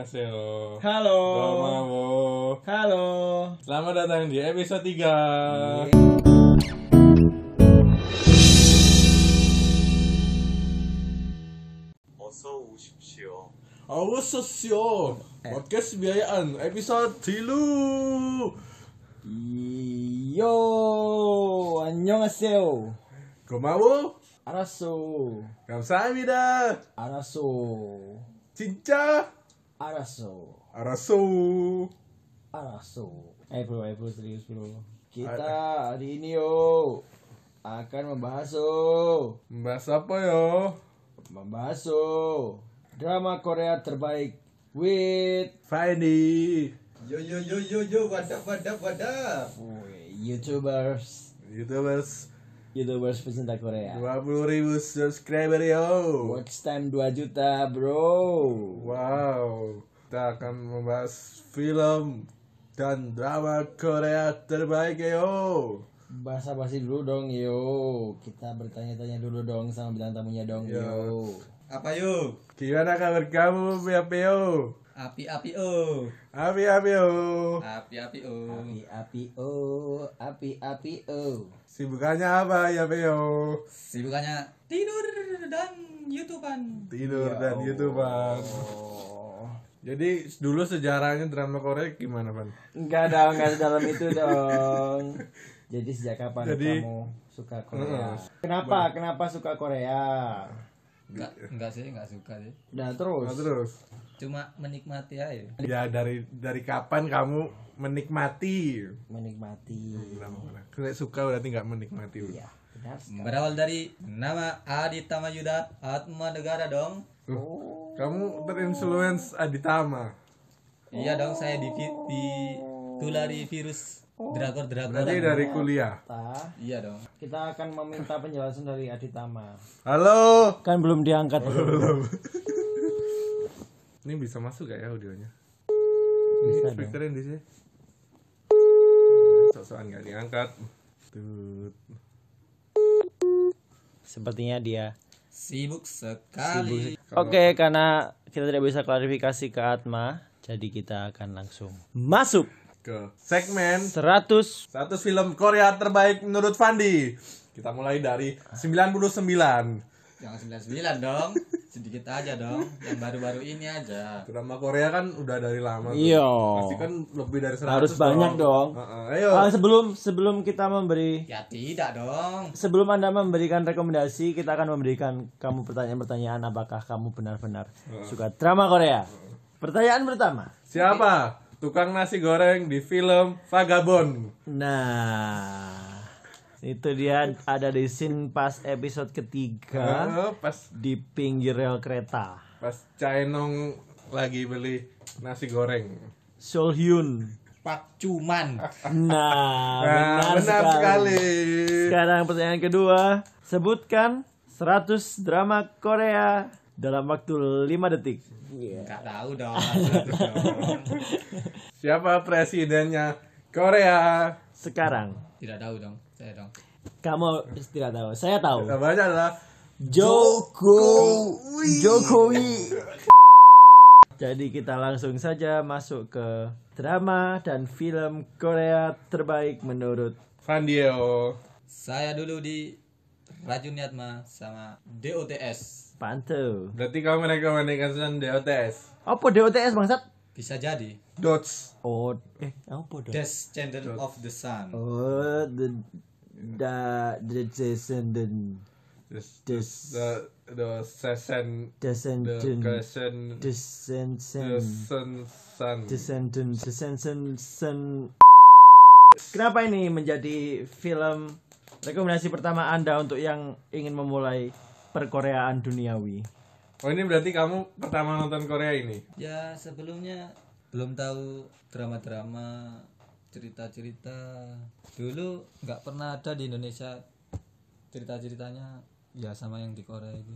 안녕하세요. Halo. 고마워. Halo. Selamat datang di episode 3. 어서 오십시오. 어서쇼. podcast biayaan episode tilu. Yo, 안녕하세요. 고마워. 알았어. 감사합니다. 알았어. 진짜 알았어. 알았어. Arasou. Eh bro, eh bro, serius bro. Kita hari ini yo akan membahas yo, Bahas apa yo? membahas yo drama Korea terbaik with Fani. 요요요요요 와답 와답 와답. YouTubers, YouTubers YouTubers pecinta Korea. 20.000 subscriber yo. Watch time 2 juta bro. Wow. Kita akan membahas film dan drama Korea terbaik yo. Bahasa basi dulu dong yo. Kita bertanya-tanya dulu dong sama bintang tamunya dong yo. 아빠요. Gimana kabar kamu, Piapio? 아삐 아삐오. Api api yo. 아삐 아삐오. Api api oh, api api oh. Sibukannya apa ya Peo? 시부가냐? tidur dan YouTubean. Tidur dan YouTuber. Oh. Jadi dulu sejarahnya drama Korea gimana, Pan? Enggak dong, enggak sedalam itu dong. Jadi sejak kapan Jadi- kamu suka Korea? Kenapa? Kenapa suka Korea? Enggak enggak sih enggak suka sih. Nah, terus. Nah, terus. Cuma menikmati aja. Ya dari dari kapan kamu menikmati? menikmati. Kalau suka berarti nggak menikmati. Ya, benar. Berawal dari nama Aditama Yuda Atma Negara dong. Loh, Kamu terinfluence Aditama. Iya dong saya di ditulari virus Berarti drakor-drakoran. dari kuliah. Ta, Iya dong. Kita akan meminta penjelasan dari Aditama. Halo. Kan belum diangkat. Ini bisa masuk gak ya audionya? Bisa Ini dong. speakerin di sini. Sok-sokan gak diangkat. Tut. Sepertinya dia Sibuk sekali. Oke, karena kita tidak bisa klarifikasi ke Atma, jadi kita akan langsung masuk Ke segmen 100 Satu film Korea terbaik menurut Fandi. Kita mulai dari 99. Jangan 99 dong. Sedikit aja dong. Yang baru-baru ini aja. Drama Korea kan udah dari lama. tuh. Iya. Pasti kan lebih dari 100 Harus banyak dong. Heeh, ayo. Ah, sebelum sebelum kita memberi Ya tidak dong. sebelum Anda memberikan rekomendasi, kita akan memberikan kamu pertanyaan-pertanyaan apakah kamu benar-benar suka drama Korea. Pertanyaan pertama. Siapa tukang nasi goreng di film Vagabond? Nah, itu dia ada di scene pas episode ketiga Eh, pas di pinggir rel kereta. pas Chaenong lagi beli nasi goreng. Seol Hyun. Pak cuman. Nah, Nah, benar, benar sekali. sekali. Sekarang pertanyaan kedua, sebutkan 100 drama Korea dalam waktu 5 detik. Iya. Enggak tahu dong. satu dong. Siapa presidennya Korea? Sekarang Tidak tahu dong. Saya dong. kamu tidak tahu, saya tahu. Jawabannya adalah Joko Jokowi. Jadi kita langsung saja masuk ke drama dan film Korea terbaik menurut Fandio. Saya dulu di Rajun Yatma sama DOTS. Pantu. Berarti kamu merekomendasikan DOTS. Apa DOTS bangsat? Bisa jadi. Dots. Oh, eh apa dong? Descendant of the Sun. Oh, the da the descendant Terus des the the session the descendant question the descendant sun sun descendant descendant sen- Kenapa ini menjadi film rekomendasi pertama Anda untuk yang ingin memulai perkoreaan duniawi? oh ini berarti kamu pertama nonton Korea ini Ya sebelumnya belum tahu drama-drama cerita-cerita dulu nggak pernah ada di Indonesia cerita-ceritanya ya sama yang di Korea itu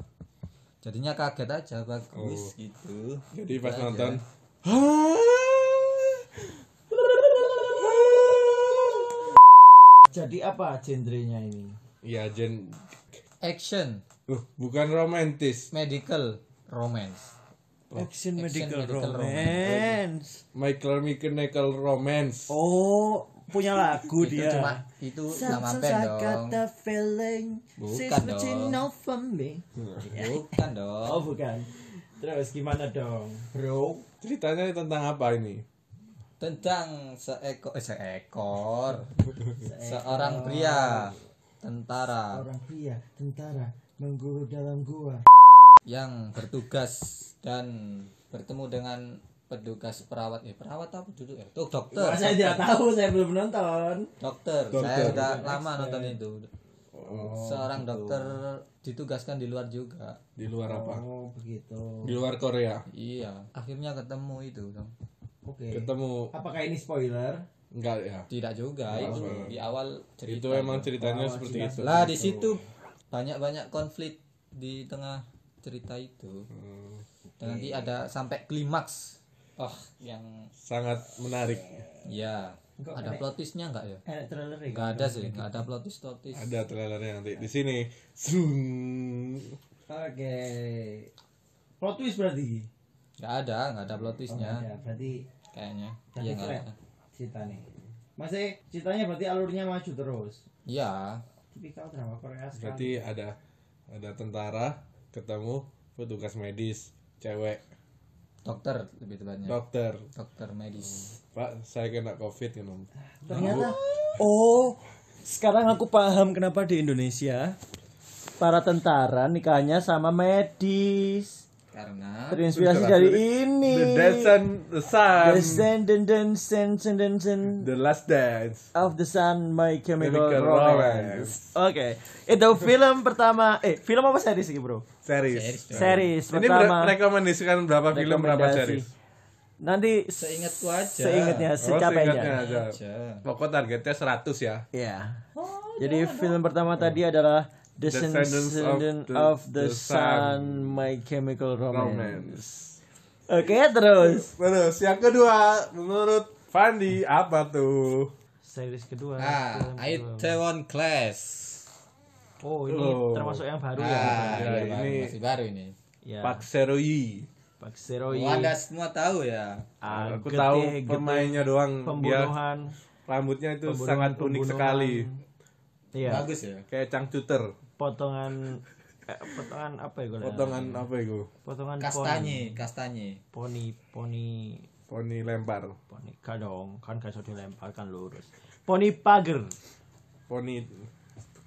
jadinya kaget aja bagus gitu jadi pas Aja. nonton Jadi apa genrenya ini? ya Jen action uh, bukan romantis medical romance Action Medical, Medical Romance. Michael Mechanical Romance. Oh, punya lagu itu dia. cuma itu nama Sometimes band I got dong the feeling Bukan she's reaching dong. out for me. bukan dong Oh, bukan. Terus gimana dong? Bro, ceritanya tentang apa ini? tentang seekor eh, seekor seorang pria tentara Orang pria tentara mengguru dalam gua. yang bertugas dan bertemu dengan petugas perawat eh perawat apa dulu ya tuh dokter Wah, Oh, saya tidak tahu, saya belum nonton. dokter saya Dokter. udah lama nonton itu seorang dokter ditugaskan di luar juga Di luar apa? Oh, begitu. Di luar Korea. iya akhirnya ketemu itu dong Oke. Ketemu Apakah ini spoiler? enggak ya? tidak juga itu di awal Itu cerita emang Oh, ceritanya seperti itu. lah di situ banyak-banyak konflik di tengah cerita itu Hmm. dan nanti ada sampai klimaks oh Iya. yang Sangat menarik. ya ada plot twistnya nggak ya Eh, trailer ya? nggak ada sih nggak ada plot twist plot twist Ada trailernya nanti di sini. Zung. Oke. Plot twist berarti. nggak ada nggak ada plot twistnya Ya, berarti kayaknya tapi iya nggak keren ada cerita nih. Masih ceritanya berarti alurnya maju terus. iya Tipikal drama Korea sekarang. Berarti ada ada tentara ketemu petugas medis cewek dokter lebih tepatnya dokter dokter medis pak saya kena covid ya, you know. Ternyata oh, sekarang aku paham kenapa di Indonesia para tentara nikahnya sama medis. karena Terinspirasi dari ini. the dance and the sun The Sun, Dun, Dun, Sun, Sun, Dun, Sun the last dance of the Sun My Chemical, Chemical Romance. Oke, itu film pertama. Eh, film apa series ini, Bro? series Series Ya. ini pertama. ber- rekomendasikan berapa film berapa Rekomendasi. series Oh, Nanti seingatku aja seingatnya, secapainya. seingatnya aja. aja pokok targetnya 100 ya Iya. Jadi film pertama tadi adalah Descendants Descendants of, of the- the the, Sun, My Chemical Romance. romance Oke, terus terus yang kedua menurut Fandi apa tuh series kedua. ah film kedua. Itaewon Class Oh, ini Oh. termasuk yang baru ya. Ya, ah iya, baru, ini- masih baru ini Ya. Pak Seroyi Pak Seroy. Oh, anda semua tahu ya ah, aku getih, tahu getih, pemainnya doang dia pembunuhan. rambutnya itu pembunuhan, sangat unik pembunuhan. sekali Iya, bagus ya kayak cangcuter potongan eh, potongan apa ya gue? potongan apa itu Potongan poni, kastanye kastanye poni, poni, poni lempar poni. Kadong, kan gak bisa dilempar kan lurus. Poni pager. poni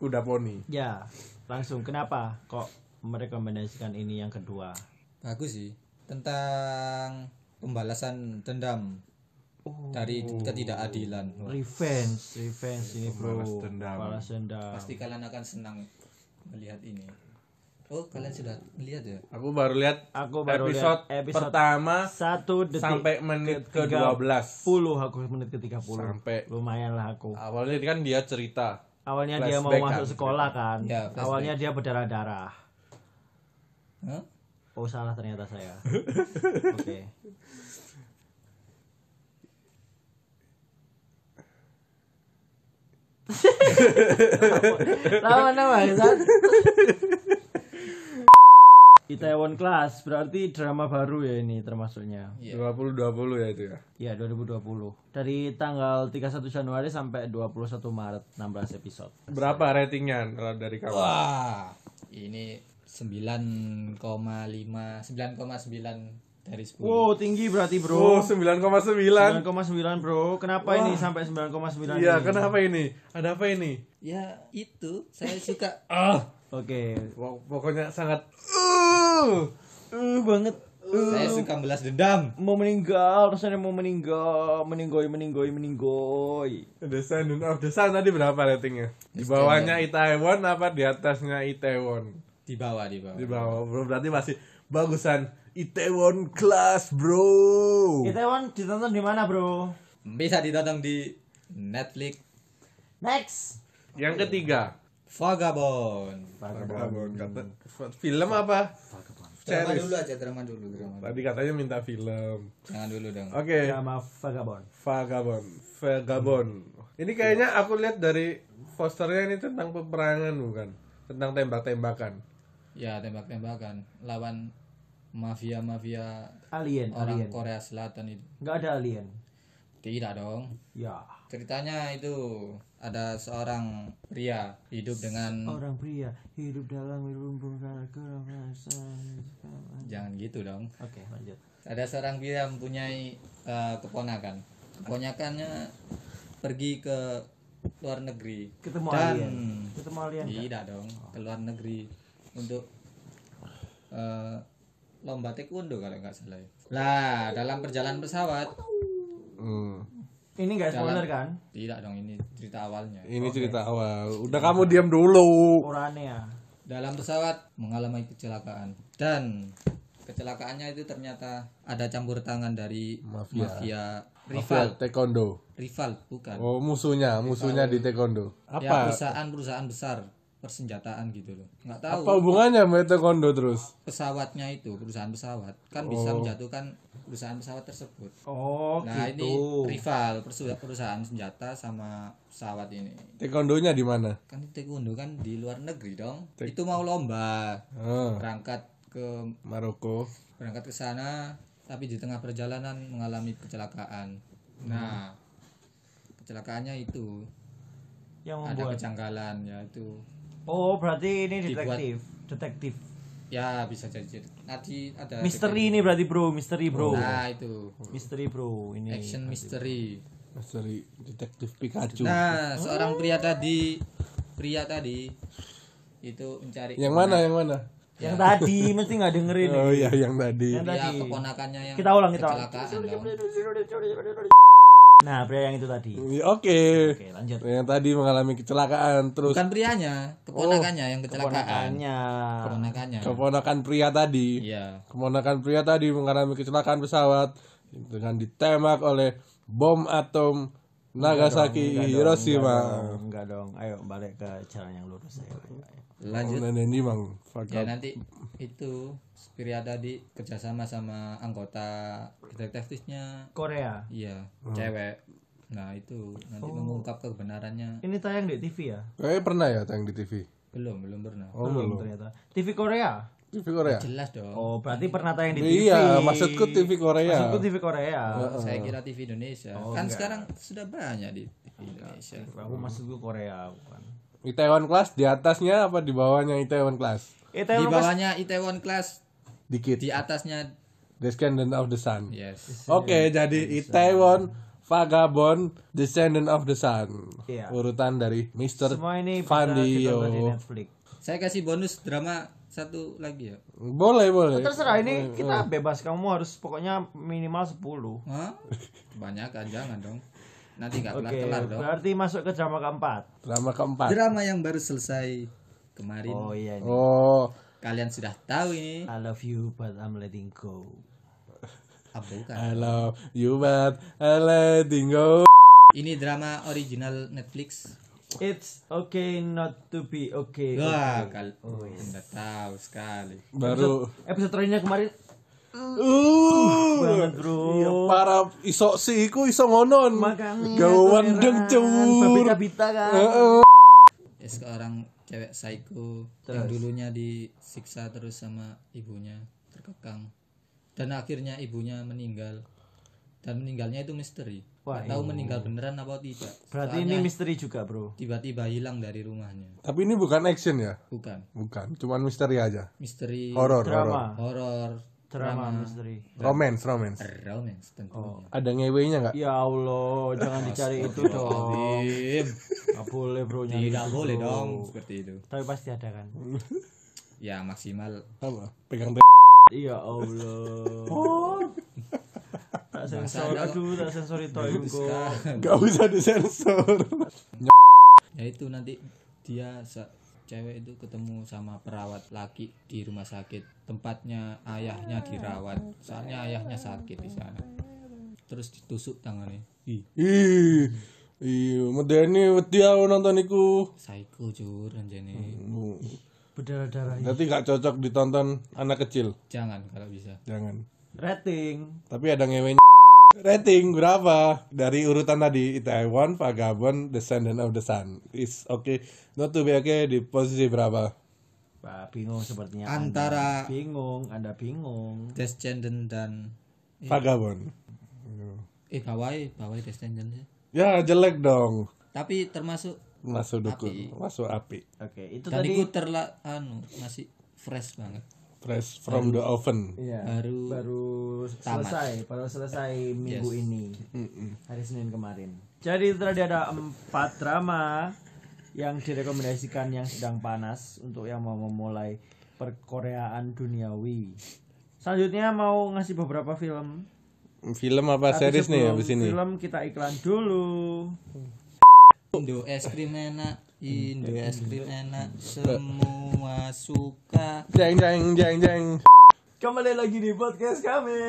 kuda poni Ya, langsung kenapa kok merekomendasikan ini yang kedua? bagus sih tentang pembalasan dendam dari ketidakadilan Revenge, revenge ini bro. Pembalas dendam. Balas dendam. pasti kalian akan senang melihat ini oh kalian sudah melihat ya aku baru lihat Aku baru episode, lihat episode pertama Satu detik sampai menit ke 12 puluh aku menit ke 30 Sampai. lumayan lah aku awalnya kan dia cerita awalnya dia mau Flashback masuk kan? sekolah kan Ya, flashback. awalnya dia berdarah darah Hah? oh salah ternyata saya oke Lama nama Hasan. Itaewon Class berarti drama baru ya ini termasuknya. 20-20 ya itu ya Ya 2020 Dari tanggal 31 Januari sampai 21 Maret 16 episode berapa ratingnya kalau dari kamu wah ini 9,5 9,9 dari 10 Wow tinggi berarti oh bro 9,9 9,9 bro Kenapa ini sampai 9,9 iya ini? kenapa ini ada apa ini ya itu saya suka ah Oke Pok- pokoknya sangat uh, Eh, banget saya suka membalas dendam Mau meninggal Rasanya mau meninggal Meninggoy meninggoy meninggoy The Sun of the Sun oh, tadi berapa ratingnya? Di bawahnya Itaewon apa di atasnya Itaewon? di bawah di bawah Di bawah bro berarti masih bagusan Itaewon Class bro. Itaewon kan ditonton di mana bro? bisa ditonton di Netflix Next Yang ketiga Vagabond Vagabond. Kata- film apa? drama dulu aja drama dulu drama dulu. Tadi katanya minta film. jangan dulu dong Oke, Drama Ya, Vagabond Vagabond. Vagabond. Ini kayaknya aku lihat dari posternya ini tentang peperangan bukan? Tentang tembak-tembakan. ya tembak-tembakan lawan mafia mafia Alien, orang alien. Korea Selatan itu Enggak ada alien. tidak dong Ya. ceritanya itu ada seorang pria hidup dengan Orang pria hidup dalam lumbung kala jangan gitu dong Oke, lanjut. ada seorang pria yang mempunyai eh, keponakan keponakannya pergi ke luar negeri Ketemu Dan- alien. Ketemu alien. nggak? tidak dong ke luar negeri untuk eh, lomba taekwondo kalau nggak salah ya. lah dalam perjalanan pesawat Hmm. Ini enggak spoiler kan? tidak dong ini cerita awalnya Ini cerita awal. Udah kamu diam dulu. Orane ya. dalam pesawat mengalami kecelakaan dan kecelakaannya itu ternyata ada campur tangan dari mafia, rival Mafia Taekwondo. rival bukan Oh musuhnya, musuhnya di Taekwondo. ya Apa? perusahaan-perusahaan besar persenjataan gitu loh nggak tahu Apa hubungannya sama Taekwondo terus? pesawatnya itu perusahaan pesawat kan bisa Oh. menjatuhkan perusahaan pesawat tersebut Oh, nah ini gitu. rival persu- perusahaan senjata sama pesawat ini Taekwondonya di mana? kan taekwondo kan di luar negeri dong itu mau lomba Ah, berangkat ke Maroko. berangkat ke sana tapi di tengah perjalanan mengalami kecelakaan. Hmm. Nah, kecelakaannya itu Yang ada membuat. kejanggalan ya itu. Oh, berarti ini Dibuat. detektif. Detektif. Ya bisa jadi nanti Nah, ada Misteri Oh. ini berarti, Bro. Misteri, Bro. Nah, itu Misteri, Bro. Ini. action mystery. Dari detektif Pikachu. Nah, Oh. seorang pria tadi pria tadi itu mencari Yang mana? Yang mana? Yang Ya. tadi mesti nggak dengerin. Oh iya yang tadi. Yang pria tadi. keponakannya yang Kita ulang, kita ulang. kecelakaan dong. Nah, pria yang itu tadi. Iya, Oke. Oke, lanjut. Yang tadi mengalami kecelakaan terus Bukan prianya, keponakannya yang kecelakaan. Oh, Keponakannya. Keponakannya. keponakan pria tadi. Iya. Keponakan pria tadi mengalami kecelakaan pesawat dengan ditembak oleh bom atom Nagasaki Hiroshima. Oh, enggak dong. Ayo balik ke jalan yang lurus. Ayo, ayo, ayo. Lanjut Oh, nenek ini, Bang. Fuck ya up. nanti itu Spiria tadi kerjasama sama anggota detektifnya Korea. iya Hmm. cewek nah itu nanti Oh. mengungkap kebenarannya Ini tayang di TV ya? Hmm, Kayaknya pernah ya tayang di TV. belum belum pernah Oh, belum. Ternyata. TV Korea. TV Korea. jelas dong Oh, berarti pernah tayang di TV. Iya, maksudku TV Korea. Maksudku TV Korea. saya Uh-uh. kira TV Indonesia Oh, kan sekarang sudah banyak di TV Indonesia Aku maksudku Korea bukan. Itaewon Class di atasnya apa di bawahnya Itaewon Class? Eh, di tayang bawahnya Itaewon Class Dikit. Iya. di atasnya Descendant of the Sun. yes Oke, jadi Itaewon Vagabond Descendant of the Sun. Iya. Urutan dari Mr. semua ini bisa Fandio. ditonton di Netflix. saya kasih bonus drama satu lagi ya Boleh, boleh. Terserah Hmm. ini kita bebas kamu harus pokoknya minimal 10. Hah? kebanyakan jangan dong nanti nggak kelar Oke, kelar dong berarti masuk ke drama keempat. Drama keempat. drama yang baru selesai kemarin Oh iya, ini. Oh, kalian sudah tahu ini I love you but I'm letting go. Ah, bukan. I love you but I letting go. Ini drama original Netflix. It's okay not to be okay. Wah, kal Oh, iya. Anda tahu sekali. Baru Episode terakhirnya kemarin uh, banget bro. Iya, Iya. para isok sih iku iso ngonon. Gawan deng cewur. Babita kan. Ya, seorang cewek psycho yang dulunya disiksa terus sama ibunya terkekang dan akhirnya ibunya meninggal dan meninggalnya itu misteri. Wah, iya. Nggak tahu meninggal beneran apa tidak. Berarti ini misteri juga bro. Tiba-tiba hilang dari rumahnya. Tapi ini bukan action ya? Bukan Bukan, cuman misteri aja. misteri Horor, horor. Drama, horor drama misteri. Romance, romance. romance tentunya. Ada ngewenya nggak? Ya Allah, jangan Nah, dicari itu dong. Im, Gak boleh bro nyari. Tidak boleh dong seperti itu. Tapi pasti ada kan. Ya maksimal Apa? Pegang Iya Allah. Oh. tak sensor, aduh tak sensor itu aku. Gak usah disensor. ya itu nanti dia se- cewek itu ketemu sama perawat laki di rumah sakit tempatnya ayahnya dirawat soalnya ayahnya sakit di sana terus ditusuk tangannya ih Ih, iya, medeni wedi aku nonton iku. psycho cur anjene Berdarah-darah. Berarti gak cocok ditonton anak kecil. jangan kalau bisa Jangan. Rating Tapi ada ngewenya. Rating berapa? Dari urutan tadi, Itaewon, Vagabond, Descendant of the Sun. Is okay. Not to be okay di posisi berapa? Pak bingung sepertinya antara Anda. bingung, Anda bingung. Descendant dan Iya. Vagabond. eh bawai bawai Descendant ya. Ya jelek dong. Tapi termasuk Masuk dukun, masuk api. Oke, itu dan tadi itu terla anu masih fresh banget. Fresh from the oven. Iya, Baru baru selesai, baru selesai minggu ini. Hari Senin kemarin. Jadi itu tadi ada empat drama yang direkomendasikan yang sedang panas untuk yang mau memulai perkoreaan duniawi. Selanjutnya mau ngasih beberapa film. Film apa Tapi series nih sebelum abis ini? Film kita iklan dulu. Indo es krim enak, Indo es krim enak, semua suka. Jeng jeng jeng jeng. Kembali lagi di podcast kami.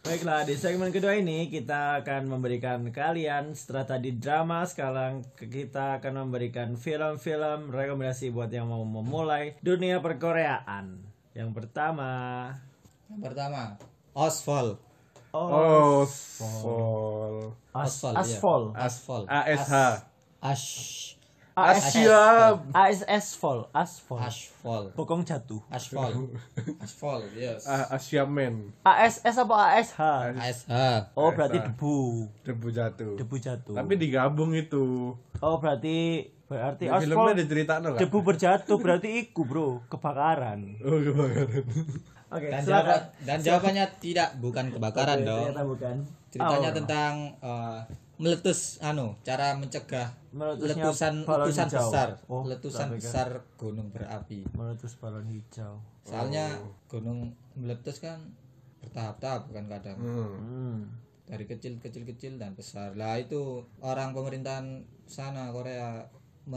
Baiklah, di segmen kedua ini kita akan memberikan kalian setelah tadi drama, sekarang kita akan memberikan film-film rekomendasi buat yang mau memulai dunia perkoreaan. Yang pertama, Yang pertama, Oswald. oh, Oh, Sol. As- Asphalt, Asphalt. iya. Asphalt. ASH. Ash. Asia. AS Asphalt, Asphalt. Asphalt. Bokong jatuh. Asphalt. Asphalt, yes. Asia Man. ASS apa ASH? ASH. Oh berarti debu, Debu jatuh. debu jatuh. Tapi digabung itu. Oh berarti Di berarti Nah, filmnya aspal diceritain loh. debu berjatuh berarti iku bro kebakaran. Oh, kebakaran. Oke Dan, silakan. jawab- dan jawabannya tidak, bukan kebakaran Oke, dong. Ternyata bukan. Ceritanya tentang eh, meletus anu, cara mencegah Meletusnya letusan balon letusan hijau. besar, Oh, letusan tak pikir. besar gunung berapi. Meletus balon hijau. Soalnya Oh. gunung meletus kan bertahap-tahap bukan kadang. Hmm. Dari kecil kecil kecil dan besar. Lah itu orang pemerintahan sana Korea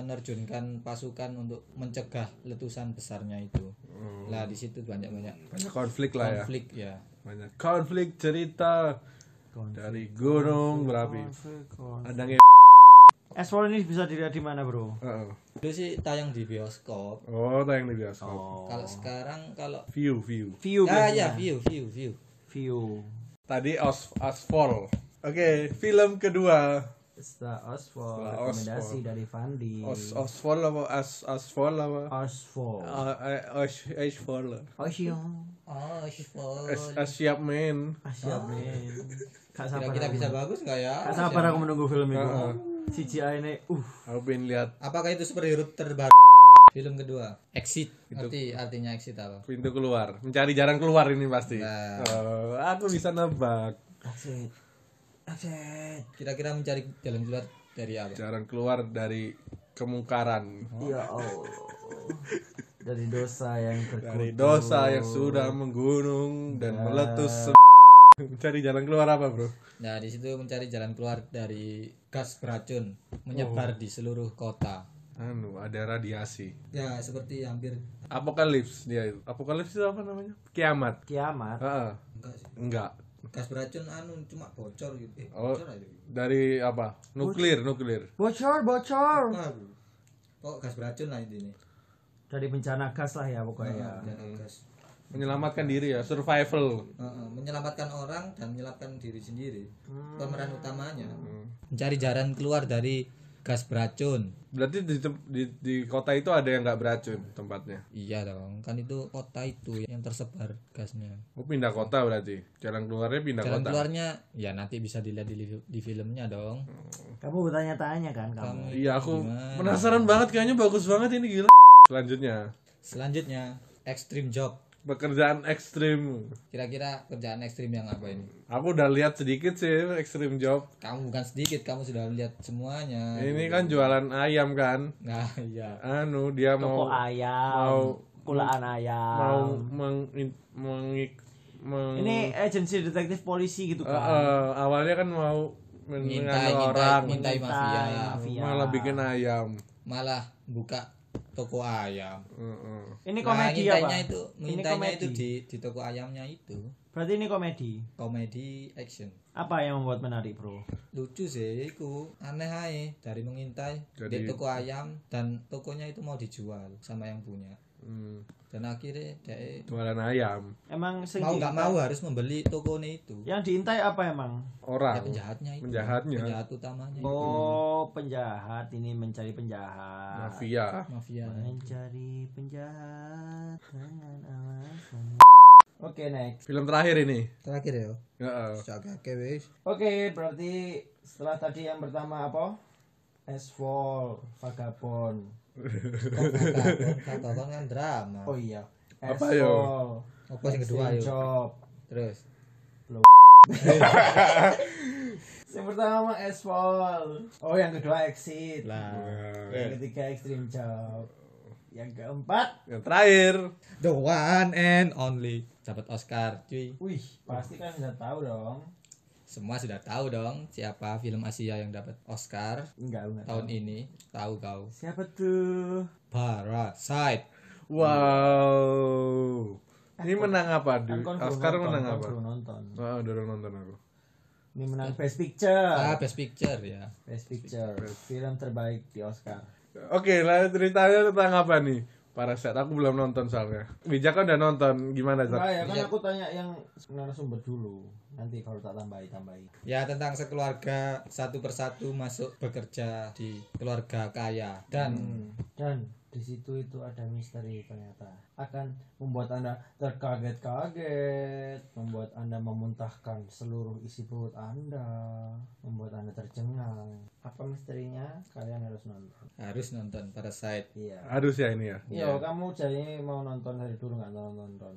menerjunkan pasukan untuk mencegah letusan besarnya itu. Hmm. Lah di situ banyak-banyak Banyak konflik lah ya. konflik ya. Banyak konflik cerita dari gunung berapi. Adanya Aspal ini bisa dilihat di mana bro? Heeh. Dulu sih tayang di bioskop. Oh, tayang di bioskop. Kalau sekarang kalau View, view. Oh. View ya biasanya. ya view view view. View. Tadi Os Asfol. Oke, film kedua. Setelah Oswald, Setelah rekomendasi dari Fandi. Os Hmm. Osfol apa As Asfol apa? Oswald. Ah, eh, Os Asfol. Oswald. Oh, As Asia Man. Asyik men. Kak sabar. Kira-kira aku. bisa bagus nggak ya? Gak sabar aku menunggu film itu. CGI ini uh Aku pengen lihat Apakah itu superhero terbaru? Film kedua. Exit. Arti artinya exit apa? pintu keluar. Mencari jalan keluar ini pasti. Nah. Oh, aku bisa nebak. exit. Exit. Kira-kira mencari jalan keluar dari apa? Jalan keluar dari kemungkaran. Oh. Ya Allah. Dari dosa yang Dari berkutu. dosa yang sudah menggunung dan meletus. se- Mencari jalan keluar apa, Bro? Nah, di situ mencari jalan keluar dari gas beracun menyebar di seluruh kota. Anu, ada radiasi. Ya, seperti hampir Apokalips dia itu. Apokalips itu apa namanya? Kiamat. Kiamat. Heeh. enggak sih. Enggak. Gas beracun anu cuma bocor gitu. Eh, Oh. bocor aja. Dari apa? Nuklir, nuklir. Bocor, bocor. Nah, kok gas beracun lah intinya. Dari bencana gas lah ya Iya. pokoknya. Jangan gas. Menyelamatkan diri ya, survival. Heeh, menyelamatkan orang dan menyelamatkan diri sendiri. Hmm. Pemeran utamanya. Mencari jalan keluar dari gas beracun. Berarti di, tem- di, di kota itu ada yang nggak beracun tempatnya. Iya dong, kan itu kota itu yang tersebar gasnya. Oh, pindah kota berarti. Jalan keluarnya pindah Jalan kota. keluarnya ya nanti bisa dilihat di, di filmnya dong. Hmm. Kamu bertanya-tanya kan kamu. Iya, aku penasaran banget kayaknya bagus banget ini gila. Selanjutnya, Selanjutnya, extreme job. pekerjaan ekstrim. Kira-kira kerjaan ekstrim yang apa ini? Aku udah lihat sedikit sih ekstrim job. Kamu bukan sedikit, kamu sudah lihat semuanya. Ini kan jualan ayam kan. Nah, iya. Anu, dia mau Toko ayam. Kulaan ayam. mau meng, mengik- meng- Ini agensi detektif polisi gitu Eh, kan. eh, awalnya kan mau men- Ngintai, menganu ngintai, orang ngintai mafia. iya. malah bikin ayam. Malah buka toko ayam. Heeh. Ini Nah, komedi ngintainya apa? itu, ngintainya itu di di toko ayamnya itu. Berarti ini komedi. Komedi action. Apa yang membuat menarik, Bro? lucu sih iku aneh ae dari mengintai Jadi- di toko ayam dan tokonya itu mau dijual sama yang punya Hmm, dan akhirnya dia jualan ayam Emang sing Ya, mau di- nggak mau harus membeli tokonya itu yang diintai apa emang? orang ya penjahatnya itu penjahatnya. penjahat utamanya Oh, penjahat ini mencari penjahat. mafia mafia Ah. Mencari penjahat dengan alasan. Oke, next. film terakhir ini terakhir ya Heeh. jaga wis Oke, berarti setelah tadi yang pertama apa? Asphalt, Vagabond. kata kan drama Oh iya. Apa yo? Asphalt, apa yang kedua Steel yuk Job. terus Yang pertama Asphalt. Oh, yang kedua Exit. lah eh. Yang ketiga Extreme Job. Yang keempat, yang terakhir the one and only dapat Oscar cuy wih, pasti kan udah tahu dong. semua sudah tahu dong siapa film Asia yang dapat Oscar Enggak, enggak. tahun ini tahu kau Siapa tuh? Parasite wow ini menang apa di Kan kon belum Oscar nonton, menang kon apa belum nonton. oh, dorong nonton aku Ini menang Best Picture. ah Best Picture ya Best Picture, film terbaik di Oscar. Oke, lalu ceritanya tentang apa nih? Paraset, aku belum nonton soalnya. Wijaka udah nonton, gimana Zak? Nah, ya kan aku tanya yang narasumber dulu. Nanti kalau tak tambahi tambahi. ya tentang sekeluarga satu persatu masuk bekerja di keluarga kaya dan Dan di situ itu ada misteri ternyata akan membuat anda terkaget-kaget, membuat anda memuntahkan seluruh isi perut anda, membuat anda tercengang. Apa misterinya? Kalian harus nonton. harus nonton Parasite Iya. Harus ya ini ya. Yo, kamu jadi mau nonton dari dulu nggak nonton nonton?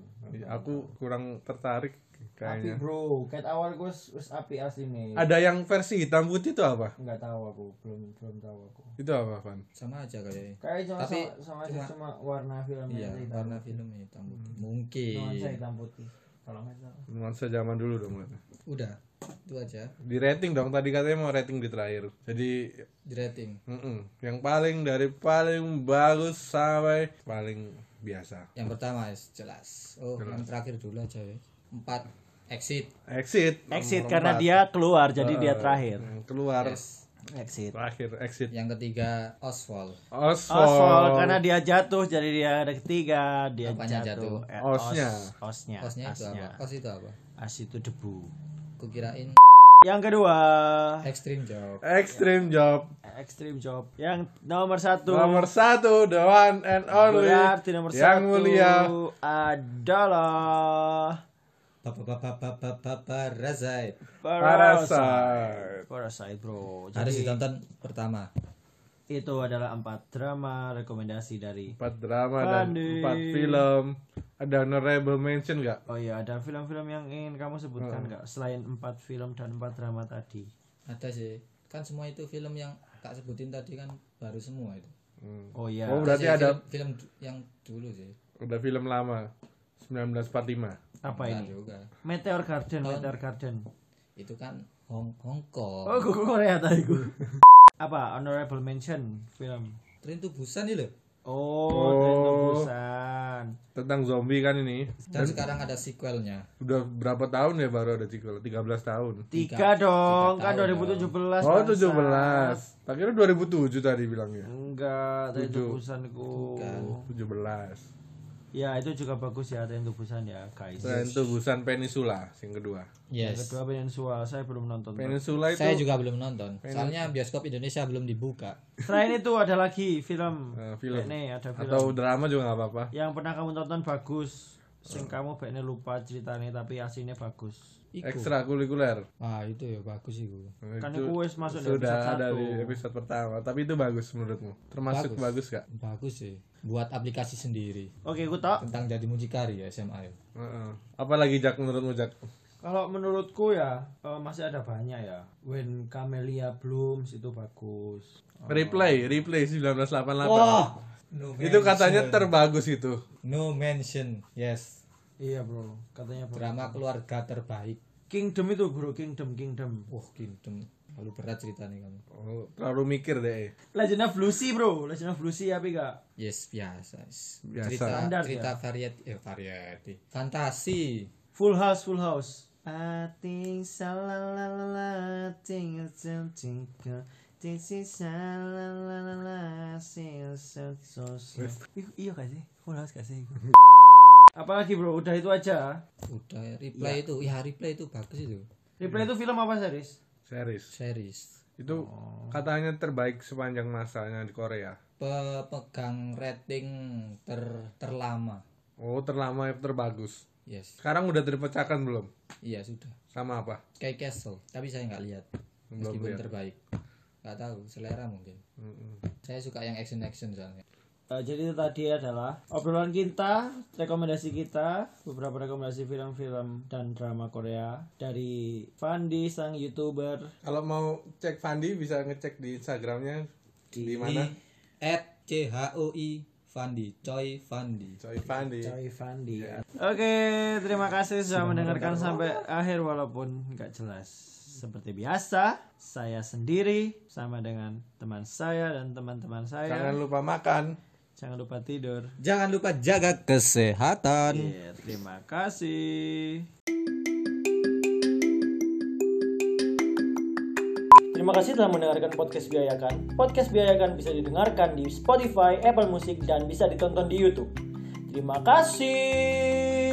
Aku kurang tertarik Api Iya, kayaknya. bro, cat awal gue wis api asli nih. Ada yang versi hitam putih itu apa? nggak tahu aku belum belum tahu aku Itu apa, Van? sama aja kayaknya kayak cuma Tapi sama, sama aja cuma warna filmnya iya aja Hmm. hitam warna iya. film hitam putih mungkin nuansa hitam putih kalau nggak salah Nuansa zaman dulu dong. Van. udah itu aja Di rating dong, tadi katanya mau rating di terakhir. Jadi, di rating mm-mm. yang paling dari paling bagus sampai paling biasa. yang pertama yes, jelas oh yang terakhir dulu aja ya empat exit Exit. exit karena dia keluar jadi dia terakhir Yang keluar exit terakhir exit. yang ketiga Oswald Oswald. Oswald karena dia jatuh jadi dia ada ketiga dia Apanya jatuh, Eh, Osnya. os, osnya Ya, osnya itu asnya apa os itu apa as itu debu kukirain yang kedua extreme job Extreme job. extreme job yang nomor satu Nomor satu, the one and only. berarti nomor yang satu mulia. adalah Parasite Parasite. Parasite bro. harus Jadi ditonton pertama itu adalah empat drama rekomendasi dari. Empat drama dan empat film. Ada honorable mention nggak? Oh iya ada film-film yang ingin kamu Hmm. sebutkan nggak selain empat film dan empat drama tadi? ada sih kan semua itu film yang tak sebutin tadi kan baru semua itu Oh iya. Oh berarti Sih, ada film, film du- yang dulu sih udah film lama. 1945. Apa Nah, ini? juga Meteor Garden. Meteor Garden. itu kan Hong Hong Kong Oh gue Korea tadi gue. Apa honorable mention film? Train to Busan nih loh Oh, Train to Busan. Tentang zombie kan ini. dan sekarang ada sequelnya Udah berapa tahun ya baru ada sequel? 13 tahun. Tiga, dong, kan 2017. Oh Bang. 17. Tak kira 2007 tadi bilangnya. Enggak, Train to Busanku. 17. Ya itu juga bagus ya Train to Busan ya guys. Selain itu Busan Peninsula yang kedua. yes Kedua Peninsula saya belum nonton. Peninsula itu saya juga belum nonton soalnya bioskop Indonesia belum dibuka Selain itu ada lagi film. eh, film Nih ada film atau drama juga nggak apa-apa. yang pernah kamu tonton bagus. Oh. Sing kamu bekne lupa ceritanya tapi aslinya bagus. Ekstrakurikuler. wah itu ya bagus itu Kan itu wis masuk di episode sudah ada satu. di episode pertama tapi itu bagus menurutmu termasuk bagus, gak bagus sih buat aplikasi sendiri Oke, aku tak. tentang jadi mucikari ya SMA ya. Heeh. apalagi Jack menurutmu Jack Kalau menurutku ya eh, masih ada banyak ya. When Camellia Blooms itu bagus. replay replay 1988 no, itu katanya terbagus itu no mention yes Iya bro, katanya bro. drama keluarga terbaik Kingdom itu bro, Kingdom, Kingdom. wah kingdom lalu berat ceritanya kamu oh, terlalu mikir deh Legend of Lucy bro, Legend of Lucy tapi gak. yes biasa Biasa. cerita Standar cerita varieti eh, varieti fantasi Full House, Full House. I think so, la la la la, ting a ting ting, ting, This is a la la la la so so so so. Iku- Iya gak sih? Full house gak sih? iku? Apalagi bro, udah itu aja. udah reply itu ya reply itu bagus itu Replay itu film apa series? Series. series Itu katanya terbaik sepanjang masanya di Korea. pepegang rating ter terlama Oh, terlama terbagus. yes Sekarang udah terpecahkan belum? iya sudah Sama apa? kayak Castle tapi saya nggak lihat meskipun terbaik nggak tahu selera mungkin saya suka yang action action soalnya Eh, jadi itu tadi adalah obrolan kita, rekomendasi kita, beberapa rekomendasi film-film dan drama Korea dari Fandi sang youtuber Kalau mau cek Fandi bisa ngecek di Instagramnya di, mana? at E c h o i Fandi Choi Fandi Coy Fandi. Coy Fandi. Oke, terima kasih sudah mendengarkan sampai akhir walaupun nggak jelas. Seperti biasa, saya sendiri sama dengan teman saya dan teman-teman saya. Jangan lupa makan. Jangan lupa tidur. jangan lupa jaga kesehatan Iya, terima kasih. Terima kasih telah mendengarkan podcast Biayakan. Podcast Biayakan bisa didengarkan di Spotify, Apple Music, dan bisa ditonton di YouTube. Terima kasih.